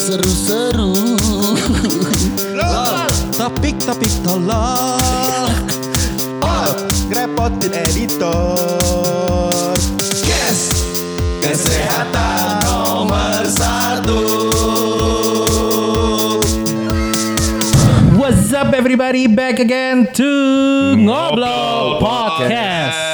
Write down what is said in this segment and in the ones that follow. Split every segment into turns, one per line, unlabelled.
seru-seru
Lol.
Topik-topik tolol
Pol. Ngerepotin editor
Yes
Kesehatan nomor satu
What's up everybody Back again to Ngobrol Podcast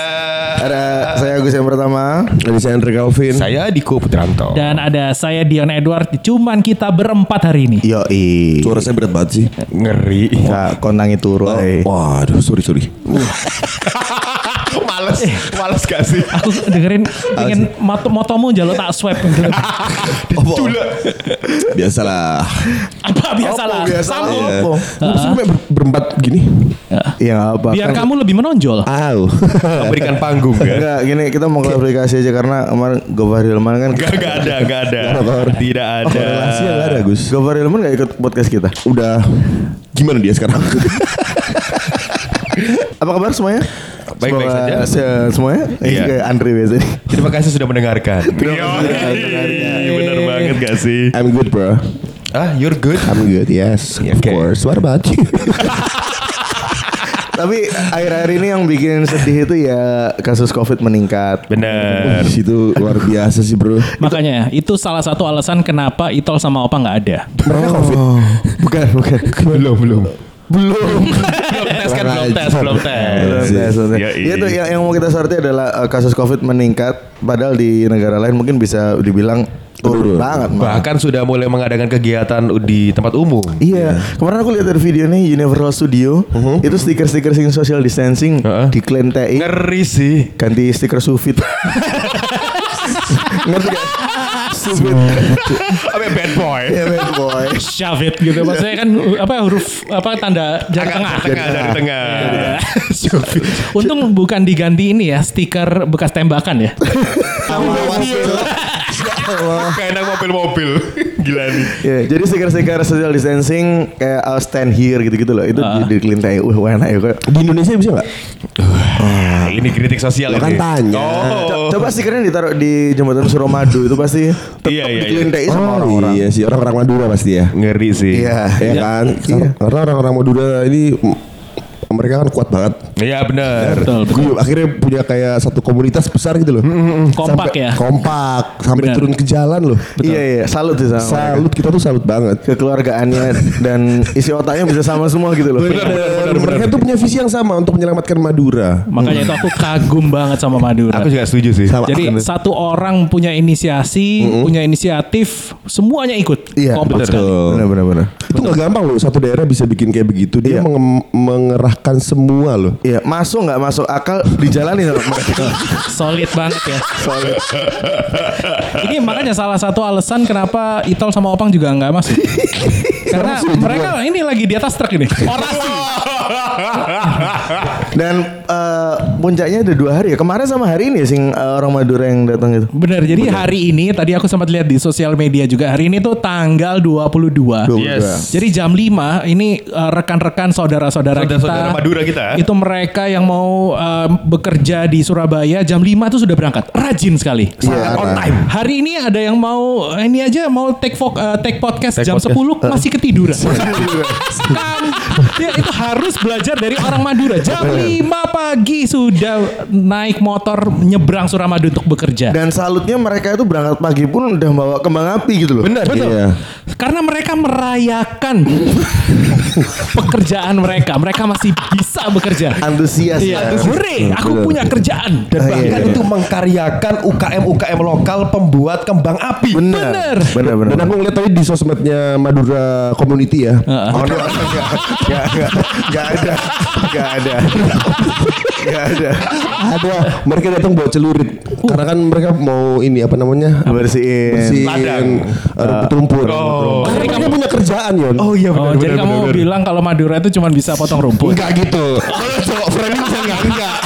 Ada saya Agus yang pertama.
Dari saya Andre Calvin
Saya Diko Putranto.
Dan ada saya Dion Edward Cuman kita berempat hari ini
Yoi.
Suara saya berat banget sih
Ngeri.
Kak konangi turu. eh.
Iya. Waduh sorry sorry
males, males gak sih?
Aku dengerin pengen mot motomu jalo tak swipe gitu.
Biasalah
Apa biasa lah Sambung.
Iya. Maksud gue ber- berempat gini
Iya nggak apa.
Biar kamu lebih menonjol
Au
Memberikan panggung kan?
Enggak, gini kita mau klarifikasi aja karena kemarin Gobar Hilman kan
Gak, gak ada, gak ada. Tidak ada.
Korelasi yang ada Gus
Gobar Hilman gak ikut podcast kita
Udah Gimana dia sekarang?
Apa kabar semuanya?
Baik-baik
Semoga
saja.
se- Semuanya?
Iya.
Iya Kayak Andre biasanya
Terima kasih sudah mendengarkan. Yoi, Bener banget gak sih?
I'm good bro
Ah, you're good.
I'm good yes Of
Okay.
course What about you?
Tapi akhir-akhir ini yang bikin sedih itu ya kasus covid meningkat
Bener.
Situ luar biasa sih bro
Makanya itu salah satu alasan kenapa Itol sama Opa nggak ada
Mereka covid
Bukan, bukan
Belum, belum.
Belum
Belum tes kan
Karena
belum tes
aja.
Belum tes
Belum
sih.
tes, belum tes.
Yoi.
Ya, itu yang, yang mau kita sorti adalah eh, kasus covid meningkat Padahal di negara lain mungkin bisa dibilang turun
Turun.
banget Mak.
Bahkan sudah mulai mengadakan kegiatan di tempat umum.
Iya, kemarin aku lihat dari videonya Universal Studio itu stiker-stiker sing social distancing
Heeh.
di diklaim TI
Ngeri sih.
ganti stiker sufit. Ngerti gak? Sufit.
Apa bad boy?
Ya
Iya.
bad boy.
Shove it gitu Maksudnya kan apa huruf apa tanda jari tengah
Tengah dari
ah.
tengah.
Untung bukan diganti ini ya stiker bekas tembakan ya.
Kayak enak mobil-mobil. Gila nih.
Ya, jadi stiker-stiker social distancing kayak uh, stand here gitu-gitu loh. Itu di diklaim TI. Wah, enak ya kok.
Di Indonesia bisa gak?
Nah, ini kritik sosial
Lo kan
ini.
tanya.
Oh.
Coba stikernya ditaruh di jembatan Suramadu itu pasti tetap
Iya, iya,
diklaim TI sama
Oh,
orang-orang.
Iya sih orang-orang Madura pasti ya
Ngeri sih.
Iya.
Iya kan? Karena- Karena orang-orang Madura ini mm, mereka kan kuat banget.
Iya benar.
Betul.
Gue akhirnya punya kayak satu komunitas besar gitu loh.
Kompak ya.
Kompak sampai
Benar.
turun ke jalan loh.
Iya, iya, salut sih sama. mereka.
Salut kita tuh salut banget.
kekeluargaannya dan isi otaknya bisa sama semua gitu loh.
Benar, mereka tuh punya visi yang sama untuk menyelamatkan Madura.
Makanya itu aku kagum banget sama Madura.
Aku juga setuju sih.
Sama.
Jadi satu orang punya inisiasi, punya inisiatif, semuanya ikut.
Iya,
Kompak sekali.
Benar benar benar.
Itu nggak gampang loh satu daerah bisa bikin kayak begitu. Dia
Iya.
menge- mengerahkan semua loh.
Iya, masuk nggak masuk akal dijalani sama mereka.
Solid banget ya.
Solid.
Ini makanya salah satu alasan kenapa Itol sama Opang juga nggak masuk. Karena mereka ini lagi di atas truk ini. Orasi.
Dan eh, puncaknya ada dua hari ya. Kemarin sama hari ini ya, sing eh, orang Madura yang datang itu.
Benar. Jadi hari ini tadi aku sempat lihat di sosial media juga. Hari ini tuh tanggal 22.
Yes.
Jadi jam 5 ini eh, rekan-rekan saudara-saudara kita
Saudara-saudara Madura kita. eh.
itu mereka yang mau eh, bekerja di Surabaya jam 5 itu sudah berangkat. Rajin sekali.
Iya,
on
Ana.
time.
Hari ini ada yang mau eh, ini aja mau take, vo- eh, take podcast
Take
jam
podcast.
10 Eh. masih ketiduran. kan ya, itu harus belajar dari orang Madura. Jam 5 pagi sudah naik motor nyebrang Suramadu untuk bekerja.
Dan salutnya mereka itu berangkat pagi pun udah bawa kembang api gitu loh.
Benar.
Betul.
Iya.
Karena mereka merayakan pekerjaan mereka. Mereka masih bisa bekerja.
Antusias ya.
Iya, hore, aku punya kerjaan. Dan
iya,
Bahkan
iya.
itu mengkaryakan UKM-UKM lokal pembuat kembang api.
Bener.
Benar. Benar benar.
Dan aku ngeliat tadi di sosmednya Madura Community ya.
Oh, no, enggak, enggak, enggak, enggak ada, enggak ada, enggak ada.
Ada mereka datang bawa celurit karena kan mereka mau ini apa namanya
Bersihin.
bersihin
Ladang.
eh, rumput-rumput.
Oh.
Karena mereka punya kerjaan yon.
Oh iya
Oh,
benar.
jadi kamu bilang kalau Madura itu cuma bisa potong rumput.
Enggak gitu. Kalau cowok friendly bisa enggak enggak.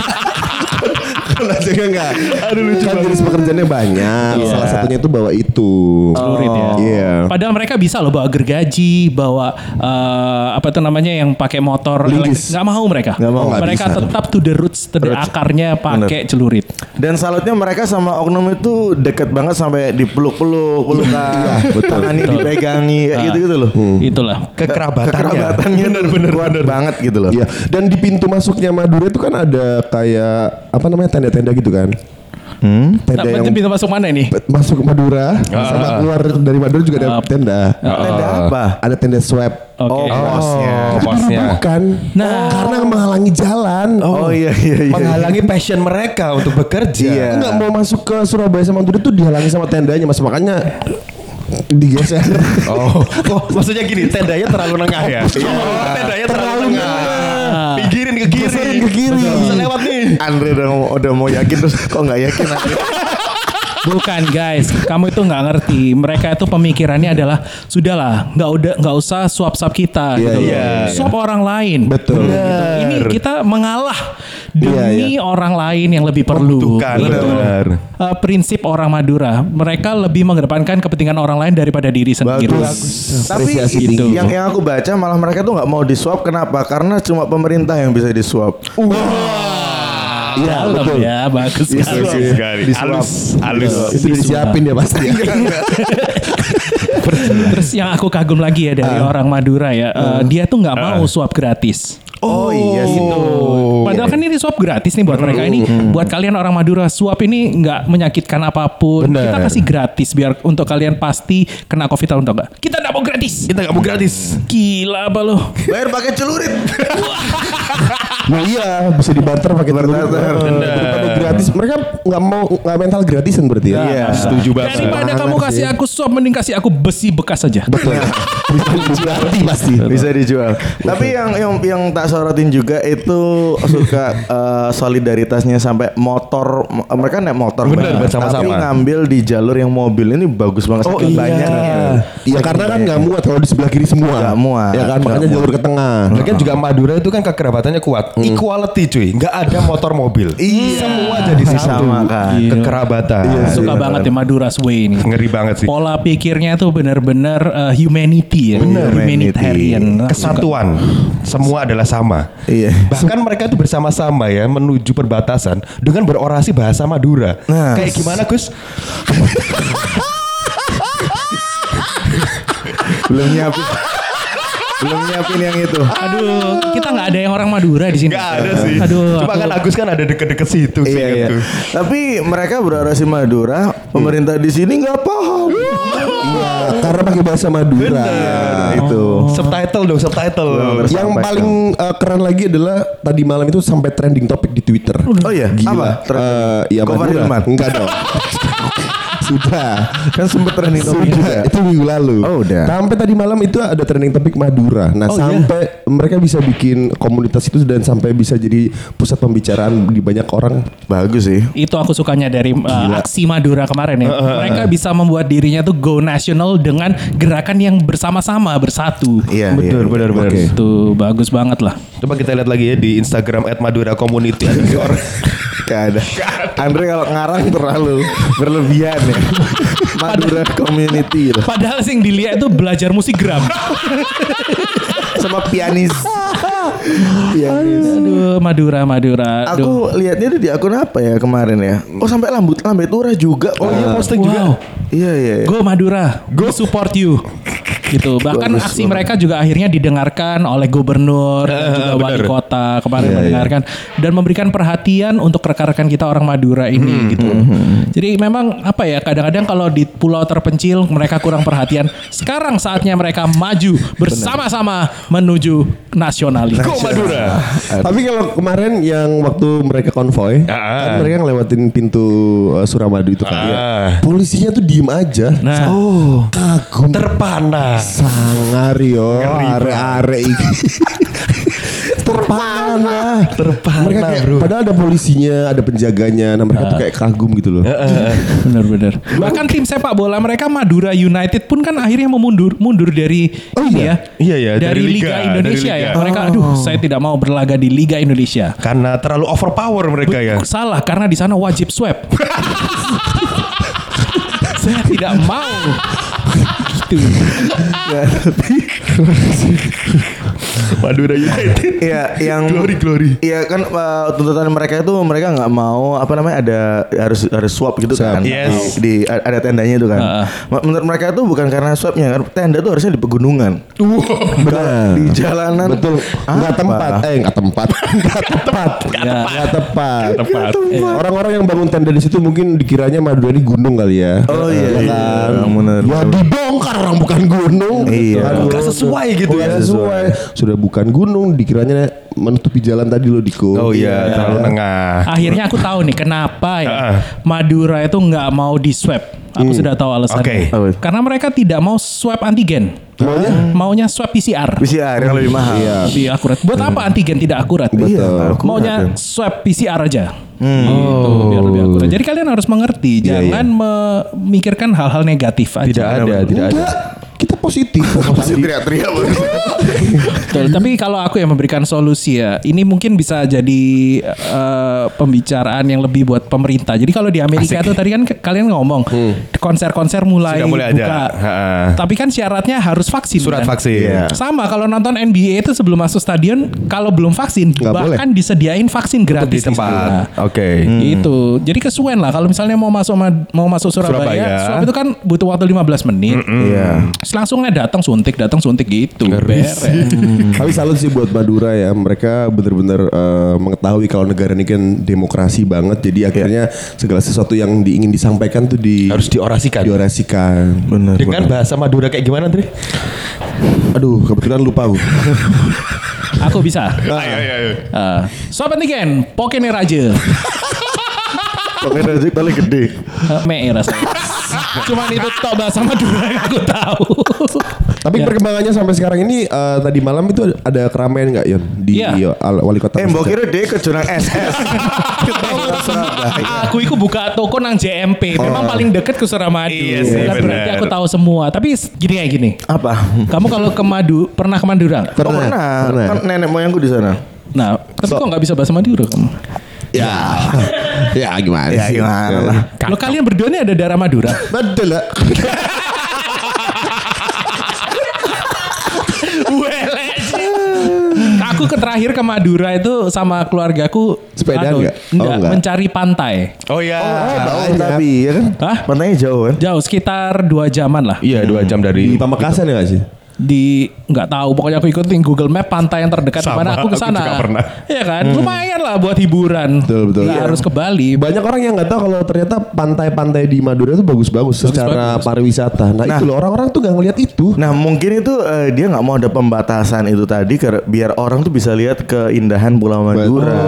Kalau aja Enggak enggak. kan jenis pekerjaannya banyak. Salah satunya itu bawa itu.
Celurit ya.
Iya.
Padahal mereka bisa loh bawa gergaji, bawa eh, apa tuh namanya yang pakai motor elektrik.
Linggis.
Nggak mau mereka.
Nggak mau.
Nggak
mereka
bisa.
tetap to the roots, to the akarnya pakai celurit.
Dan salutnya mereka sama oknum itu deket banget sampai dipeluk-peluk, pelukan, tangannya dipegangi, kayak gitu-gitu loh.
Itulah.
Kekerabatannya.
Kekerabatannya bener, bener, kuat banget gitu loh.
Iya, dan di pintu masuknya Madura itu kan ada kayak apa namanya tenda-tenda gitu kan. Tenda
Tapi
yang
pintu masuk mana ini?
pe- masuk ke Madura sama keluar dari Madura juga ada tenda.
Tenda apa?
Ada tenda swab.
Oke.
Oh, posnya.
Oh, posnya.
Bukan.
Nah.
Kan? Oh. karena menghalangi jalan.
Oh, iya iya iya.
Menghalangi passion mereka untuk bekerja.
Enggak mau masuk ke Surabaya sama Madura tuh dihalangi sama tendanya, Mas. Makanya digeser.
Oh. oh, maksudnya gini, tendanya terlalu nengah ya? Oh, tendanya terlalu nengah. Pinggirin ke kiri.
Geserin ke kiri.
Nggak Bisa lewat nih.
Andre udah, udah mau yakin terus kok nggak yakin Andre?
Bukan guys, kamu itu nggak ngerti. Mereka itu pemikirannya adalah sudahlah, nggak udah nggak usah suap-suap kita, gitu loh.
iya, iya.
suap orang lain.
Betul.
Gitu. Ini kita mengalah
Iya,
demi orang lain yang lebih perlu.
Bukan,
Gitu.
benar.
Eh, prinsip orang Madura, mereka lebih mengedepankan kepentingan orang lain daripada diri sendiri.
Tapi
Apresiasi
Gitu.
itu.
tinggi.
yang yang aku baca malah mereka tuh nggak mau disuap kenapa? Karena cuma pemerintah yang bisa disuap.
Iya,
Dalam
betul. Iya,
ya, bagus
Bagus
sekali.
Iya, sekali. Halus, halus.
Itu disiapin ya pasti.
Terus yang aku kagum lagi ya dari
Ah.
orang Madura ya, eh, dia tuh nggak mau suap gratis.
Oh, iya sih.
Padahal kan ini suap gratis nih buat mereka ini.
Mm-hmm.
Buat kalian orang Madura suap ini nggak menyakitkan apapun. Kita kasih gratis biar untuk kalian pasti kena covid atau enggak. Kita nggak mau gratis.
Kita nggak mau gratis.
Gila apa lo?
Bayar pakai celurit.
Nah iya bisa dibarter pakai telur.
Barter.
Daripada gratis mereka nggak mau nggak mental gratisan berarti ya.
Iya.
Setuju banget.
Daripada
Banget
kamu
sih.
kasih aku suap mending kasih aku besi bekas saja.
Betul. Bisa dijual pasti.
Bisa dijual. Tapi yang yang yang tak sorotin juga itu suka eh, solidaritasnya sampai motor m- mereka naik motor
Bener,
banyak,
bersama-sama.
Tapi ngambil di jalur yang mobil ini bagus banget
Oh
saking
iya.
banyaknya.
Iya karena kan nggak muat kalau di sebelah kiri semua.
Nggak muat.
Ya kan makanya
Nggak
jalur ke tengah.
Lagian juga Madura itu kan kekerabatannya kuat. Equality cuy, nggak ada motor mobil.
Hmm. Iya. kan.
Semua jadi satu. Iya.
Disamakan.
Kekerabatan.
Suka banget ya Madura's way ini.
Ngeri banget sih.
Pola pikirnya tuh benar-benar eh, humanity ya. Humanitarian. Nah,
Kesatuan. Semua adalah sama.
Iya.
Bahkan mereka itu bersama-sama ya menuju perbatasan dengan berorasi bahasa Madura.
Nah.
Kayak gimana Gus?
belum nyiapin belum nyiapin yang itu
Aduh, kita nggak ada yang orang Madura di sini.
Nggak ada sih.
Aduh,
Cuma kan Agus kan ada deket-deket situ sih. gitu.
iya, iya. tapi mereka berorasi Madura pemerintah di sini nggak paham
Iya karena pakai bahasa Madura.
Nah, itu
Oh.
Oh.
Subtitle dong, subtitle.
Yang
Sampaikan.
paling eh, keren lagi adalah tadi malam itu sampai trending topik di Twitter.
oh iya apa
Gila.
Ter-
Eh, Iya
Cover
Madura.
Hilman.
Enggak dong. Sudah.
kan sempet trending topik juga
Sudah, itu minggu lalu.
Oh, udah. Oh, iya?
Sampai tadi malam itu ada trending topik Madura. Nah, sampai mereka bisa bikin komunitas itu dan sampai bisa jadi pusat pembicaraan di banyak orang.
bagus sih
Itu aku sukanya dari uh, aksi Madura kemarin ya. Mereka bisa membuat dirinya tuh go national dengan gerakan yang bersama-sama bersatu.
iya iya.
Betul, benar, benar.
Oke.
Itu bagus banget lah.
Coba kita lihat lagi ya di Instagram @madura_community. Ada sih orang-
Gak ada Andre kalau ngarang terlalu berlebihan ya Madura community gitu.
Padahal sih yang dilihat itu belajar musik gram.
sama pianis pianis
Aduh, Madura, Madura. Aduh.
aku lihatnya tuh di akun apa ya kemarin ya oh sampai lambut lambe turah juga oh iya posting
wow.
iya iya iya.
Go Madura, go support you. Gitu. Bahkan
Bagus,
aksi mereka juga akhirnya didengarkan oleh gubernur dan juga wali kota kemarin mendengarkan dan memberikan perhatian untuk rekan-rekan kita orang Madura ini gitu. Jadi memang apa ya kadang-kadang kalau di pulau terpencil mereka kurang perhatian. Sekarang saatnya mereka maju bersama-sama menuju nasionalis.
Go Madura.
Tapi kalau kemarin yang waktu mereka konvoy,
Ah.
kan mereka ngelewatin pintu uh, Suramadu itu kan. ya.
Ah.
Polisinya tuh diem aja.
Nah,
Oh, kagum
Terpana.
sangar yo, are-are iki. Terpana terpana lah.
Terpana,
mereka kayak,
bro. Ah.
Padahal ada polisinya, ada penjaganya. Nah mereka tuh kayak kagum gitu loh.
Benar-benar. Bahkan tim sepak bola mereka Madura United pun kan akhirnya memundur mundur dari
Oh,
ini
iya.
ya.
Iya, iya,
dari,
dari
Liga,
Liga,
Indonesia
dari
ya.
Liga. Oh.
Mereka aduh, saya tidak mau berlaga di Liga Indonesia.
Karena terlalu overpower mereka ya.
Salah karena di sana wajib swab. saya tidak mau. gitu.
Madura United.
Iya, yang
Glory, glory.
Iya kan uh, tuntutan mereka itu mereka nggak mau apa namanya ada harus harus swab gitu
Swab.
kan.
Yes.
Di a- ada tendanya itu kan. Ma- Menurut mereka itu bukan karena swabnya kan. Tenda itu harusnya di pegunungan.
Benar.
Nah.
Di jalanan.
Betul. Nggak
Apa?
tempat. Eh nggak tempat. nah. Nggak tempat. Nggak tepat.
Tepat.
Eh, Orang-orang yang bangun tenda di situ mungkin dikiranya Madura ini gunung kali ya.
Oh, iya,
Ya
iya.
kan?
Bener,
Ya
bener.
dibongkar orang bukan gunung.
Iya.
Aduh,
Nggak sesuai gitu
nggak
ya.
sesuai. Sudah bukan gunung dikiranya menutupi jalan tadi loh Diko.
Oh iya, terlalu tengah.
Akhirnya aku tahu nih kenapa ya
Heeh. Hmm.
Madura itu nggak mau di swab. Aku sudah tahu alasannya.
Oke.
Karena mereka tidak mau swab antigen. Maunya? Maunya swab PCR.
PCR yang kan lebih mahal.
Iya.
lebih akurat. Buat apa antigen tidak akurat?
Betul.
Iya, akurat, Hmm.
Maunya
ya.
swab PCR aja. Gitu, biar lebih akurat. Jadi kalian harus mengerti,
Iya,
jangan memikirkan hal-hal negatif aja.
Tidak ada, tidak ada.
Enggak, kita positif.
Pasti teriak-teriak.
Betul. Tapi kalau aku yang memberikan solusi ya, ini mungkin bisa jadi eh, pembicaraan yang lebih buat pemerintah. Jadi kalau di Amerika tuh tadi kan ke- kalian ngomong konser-konser mulai
Hmm. Sudah mulai
buka.
ada. Ha.
Tapi kan syaratnya harus vaksin.
Surat
kan?
vaksin.
Iya.
Sama kalau nonton NBA itu sebelum masuk stadion kalau belum vaksin
Nggak
bahkan disediain vaksin
Di
gratis
tempat. Hmm.
sana.
Oke.
Itu. Jadi kesuwen lah kalau misalnya mau masuk Ma- mau masuk Surabaya,
Surabaya.
swab itu kan butuh waktu 15 menit.
Iya.
Terus langsungnya datang suntik, datang suntik gitu. Beres.
Hmm.
Tapi salut sih buat Madura ya. Mereka benar-benar eh, mengetahui kalau negara ini kan demokrasi banget. Jadi akhirnya segala sesuatu yang diingin disampaikan tuh di
Iya. Harus diorasikan.
diorasikan.
Benar.
Dengan bahasa Madura kayak gimana, Andre?
Aduh, kebetulan lupa aku.
Aku bisa.
Ah, iya,
Ayo, ayo, ayo.
Eh, sobat Niken, pokoknya raja.
Pokoknya rezeki paling gede.
Eh, Mee rasanya. Cuman itu tok bahasa Madura yang aku tahu.
Tapi
Ya.
perkembangannya sampai sekarang ini eh, tadi malam itu ada keramaian nggak Yon di
Iya.
yo, al- wali kota?
Eh, mbok kira dia ke jurang SS. Ketahuan
Iya.
Surabaya.
Aku itu buka toko nang JMP.
Oh.
Memang paling deket ke Suramadu.
Iya sih,
Bukan Berarti
bener.
aku tahu semua. Tapi s- gini kayak gini.
Apa?
Kamu kalau ke Madu pernah ke Madura? nggak?
Oh, pernah. Kan nenek moyangku di sana.
Nah, tapi kok nggak bisa bahasa Madura kamu?
Ya, ya gimana?
Ya,
sih?
gimana lah.
Lo kalian berdua ini ada darah Madura.
Betul lah.
Wele. Aku ke terakhir ke Madura itu sama keluargaku
Sepedaan
aduh,
nggak? Oh,
nggak,
nggak.
mencari pantai.
Oh iya.
Tahu
banyak.
tapi ya kan?
Hah?
Pantainya jauh kan?
Jauh sekitar dua jaman lah.
Iya, dua jam
Di
dari
Pamekasan ya nggak sih?
di nggak tahu pokoknya aku ikutin Google Map pantai yang terdekat di
Sama,
mana aku ke
aku
sana.
juga pernah.
Iya kan? Lumayan lah buat hiburan.
Betul, betul.
Nggak
Iya.
harus ke Bali.
Banyak orang yang nggak tahu kalau ternyata pantai-pantai di Madura itu bagus-bagus secara pariwisata. Nah, itu loh orang-orang tuh nggak ngeliat itu.
Nah mungkin itu eh, dia nggak mau ada pembatasan itu tadi ker- biar orang tuh bisa lihat keindahan Pulau Madura.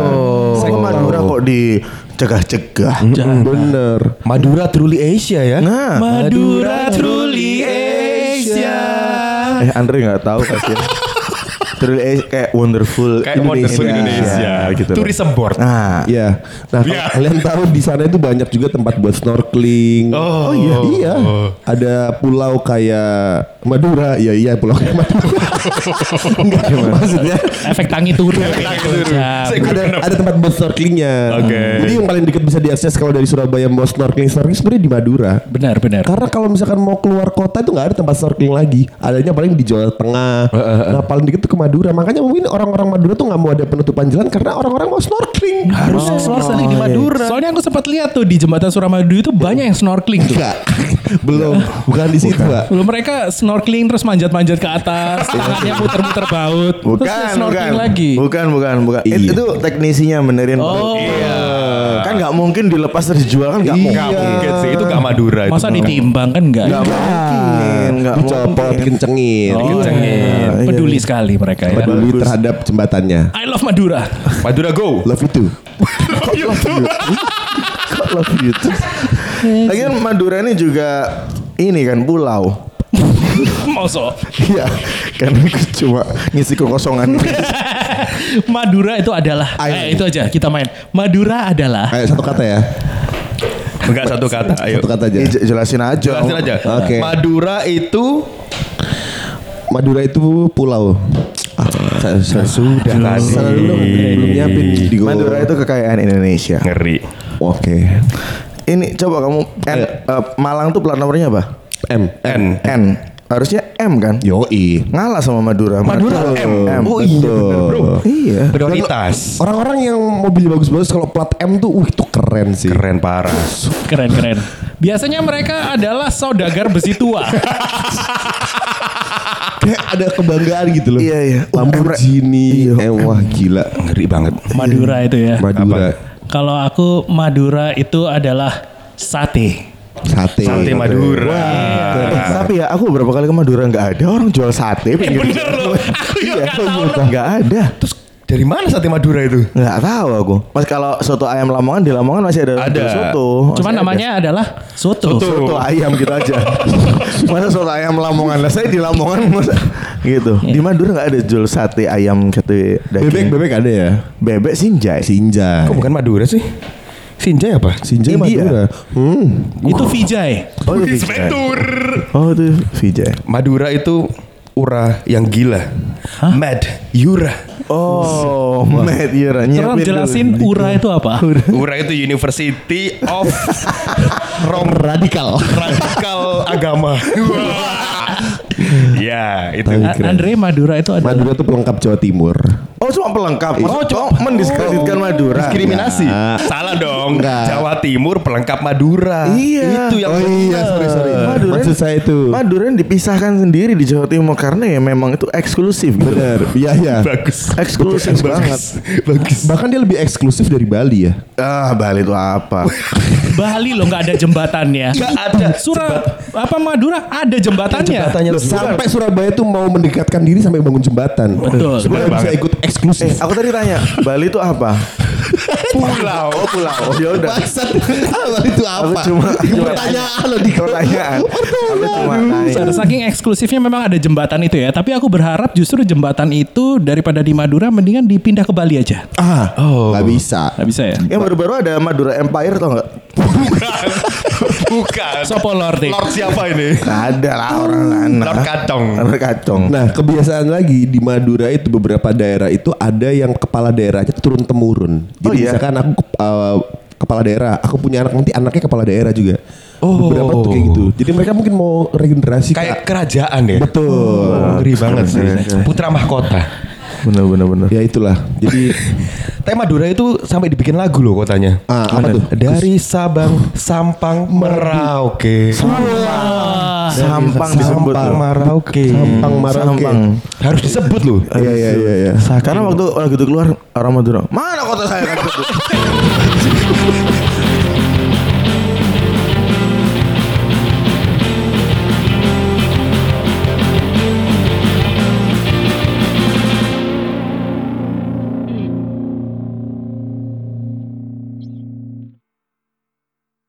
Saya ke Madura kok dicegah-cegah.
Hmm.
Nah, Bener.
Madura truly Asia ya.
Nah,
Madura truly Asia.
eh Andre nggak tahu kasihan. Terus eh, kayak wonderful
Kayak Wonderful Indonesia
gitu. loh.
Tourism board.
Nah,
Ya. Nah, kalau
Iya.
kalian tahu di sana itu banyak juga tempat buat snorkeling.
Oh.
iya, iya. Ada pulau kayak Madura. Iya, iya, pulau kayak Madura. Enggak, maksudnya
Efek tangi turun. Ya,
Saya
ada ada tempat buat snorkelingnya.
Oke.
Jadi yang paling dekat bisa diakses kalau dari Surabaya mau snorkeling snorkeling sebenarnya di Madura.
Benar benar.
Karena kalau misalkan mau keluar kota itu nggak ada tempat snorkeling lagi. Adanya paling di Jawa Tengah. Nah paling dikit tuh ke Madura. Makanya mungkin orang-orang Madura tuh nggak mau ada penutupan jalan karena orang-orang mau snorkeling. Harus
snorkeling di Madura. Soalnya aku sempat lihat tuh di jembatan Suramadu itu banyak yang snorkeling tuh.
enggak. Belum. Bukan di situ, Pak.
Belum mereka snorkeling terus manjat-manjat ke atas, tangannya muter-muter baut, terus dia
bukan, bukan,
snorkeling lagi.
bukan, bukan, bukan. It-
Iya.
Itu teknisinya benerin.
Oh.
Iya. Kan nggak mungkin dilepas terus dijual kan nggak
Gak
mungkin.
mungkin sih, itu gak Madura itu.
Masa
Madura.
ditimbang kan enggak?
Iya.
Nggak mungkin, nggak
Dicopot,
mungkin.
dikencengin.
Oh, iya. Peduli sekali mereka ya.
Peduli terhadap jembatannya.
I love Madura.
Madura go.
Love you too.
Kok love you too? Lagian Madura ini juga ini kan pulau.
Moso.
Iya, karena aku cuma ngisi kekosongan.
Madura itu adalah
Ayo.
eh, itu aja kita main. Madura adalah
Ayo satu kata ya.
Enggak satu kata. Ayo.
Satu kata aja.
Ini j- Iya, jelasin aja.
Jelasin aja.
Oke.
Madura itu
Madura itu pulau. Ah, saya, saya sudah
tadi.
Selalu belum nyiapin di Go.
Madura itu kekayaan Indonesia.
ngeri.
Oke.
Ini coba kamu N, eh, Malang tuh plat nomornya apa?
M.
N.
N. Harusnya M kan?
Yoi.
Ngalah sama Madura.
Madura M. Oh iya bener, bro.
Iya.
Prioritas.
Orang-orang yang mobil bagus-bagus kalau plat M tuh, wih itu keren sih.
Keren parah.
keren-keren. Biasanya mereka adalah saudagar besi tua.
Kayak ada kebanggaan gitu loh.
Iya, iya. Uh,
Lamborghini,
M, Iya,
eh wah gila.
Ngeri banget.
Madura itu ya.
Madura.
Kalau aku Madura itu adalah sate.
Sate.
Sate Madura.
iya.
Tapi ya aku beberapa kali ke Madura nggak ada orang jual sate. pinggir
bener
jalan.
loh. Aku juga
Iya,
nggak tahu loh.
nggak ada.
Terus dari mana sate Madura itu?
Nggak tahu aku. Mas kalau soto ayam Lamongan di Lamongan masih ada,
Ada.
soto. Masih
Cuman
ada.
namanya adalah soto.
Soto.
Oh, soto ayam gitu aja. Masa soto ayam Lamongan lah saya di Lamongan masa gitu. Di Madura nggak ada jual sate ayam gitu daging.
Bebek bebek ada ya.
bebek sinjai.
Sinjai.
Kok bukan Madura sih? Sinjai apa?
Sinjai
India.
Madura. Hmm.
Itu Vijay.
Oh itu sinjai. Oh itu sinjai.
Madura itu ura yang gila. Mad Yura.
Oh, Matt Yura
Tolong jelasin ura itu apa?
Ura itu University of Rom
Radikal.
Radikal Agama. ya, itu.
Tapi
A-
keren.
Andre Madura itu adalah
Madura itu pelengkap Jawa Timur.
Oh cuma pelengkap. Oh cuma mendiskreditkan Madura.
Diskriminasi. Iya. Salah dong.
Enggak.
Jawa Timur pelengkap Madura.
Iya.
Itu yang
Oh iya, sorry sorry.
Madura.
Maksud saya itu.
Madura yang dipisahkan sendiri di Jawa Timur karena ya memang itu eksklusif. Gitu.
Bener. Iya iya.
bagus.
Eksklusif banget.
Bagus. Bagus.
Bahkan dia lebih eksklusif dari Bali ya.
Ah Bali itu apa?
Bali loh nggak ada jembatannya.
Nggak ada
Surah apa Madura ada jembatannya.
Loh, sampai Surabaya tuh mau mendekatkan diri sampai bangun jembatan.
Betul.
Supaya bisa ikut eksklusif.
Eh, aku tadi tanya, Bali itu apa?
Pulau.
Oh, pulau. Ya udah.
Bangsat. Apa itu apa?
Aku cuma-
Ini
cuma-
pertanyaan loh di
Pertanyaan. Aku cuma nanya.
Sa- Saking eksklusifnya memang ada jembatan itu ya. Tapi aku berharap justru jembatan itu daripada di Madura mendingan dipindah ke Bali aja.
Ah, nggak bisa.
Gak bisa ya?
Yang baru-baru ada Madura Empire tau nggak?
Bukan.
Sopo Lorde.
Lord siapa ini?
Nggak ada lah orang anak.
Lord Kacong.
Lord Kacong.
Nah, kebiasaan lagi di Madura itu beberapa daerah itu ada yang kepala daerahnya turun temurun. Jadi
Oh, iya?
misalkan aku ke- eh, kepala daerah, aku punya anak nanti anaknya kepala daerah juga. Oh. Beberapa tuh kayak gitu. Jadi mereka mungkin mau regenerasi ke-
Kayak kerajaan ya.
betul.
Ngeri banget sih. Putra mahkota.
Bener bener bener.
Ya itulah. Jadi
Tema Madura itu sampai dibikin lagu loh kotanya.
ah, apa tuh?
Dari Sabang, Sampang, Merauke.
Ah, Sampang disebut.
Sampang,
loh.
Merauke.
Sampang Marauke.
Sampang.
Harus disebut loh.
Iya iya iya iya.
Karena waktu waktu itu keluar orang Madura. Mana kota saya kan?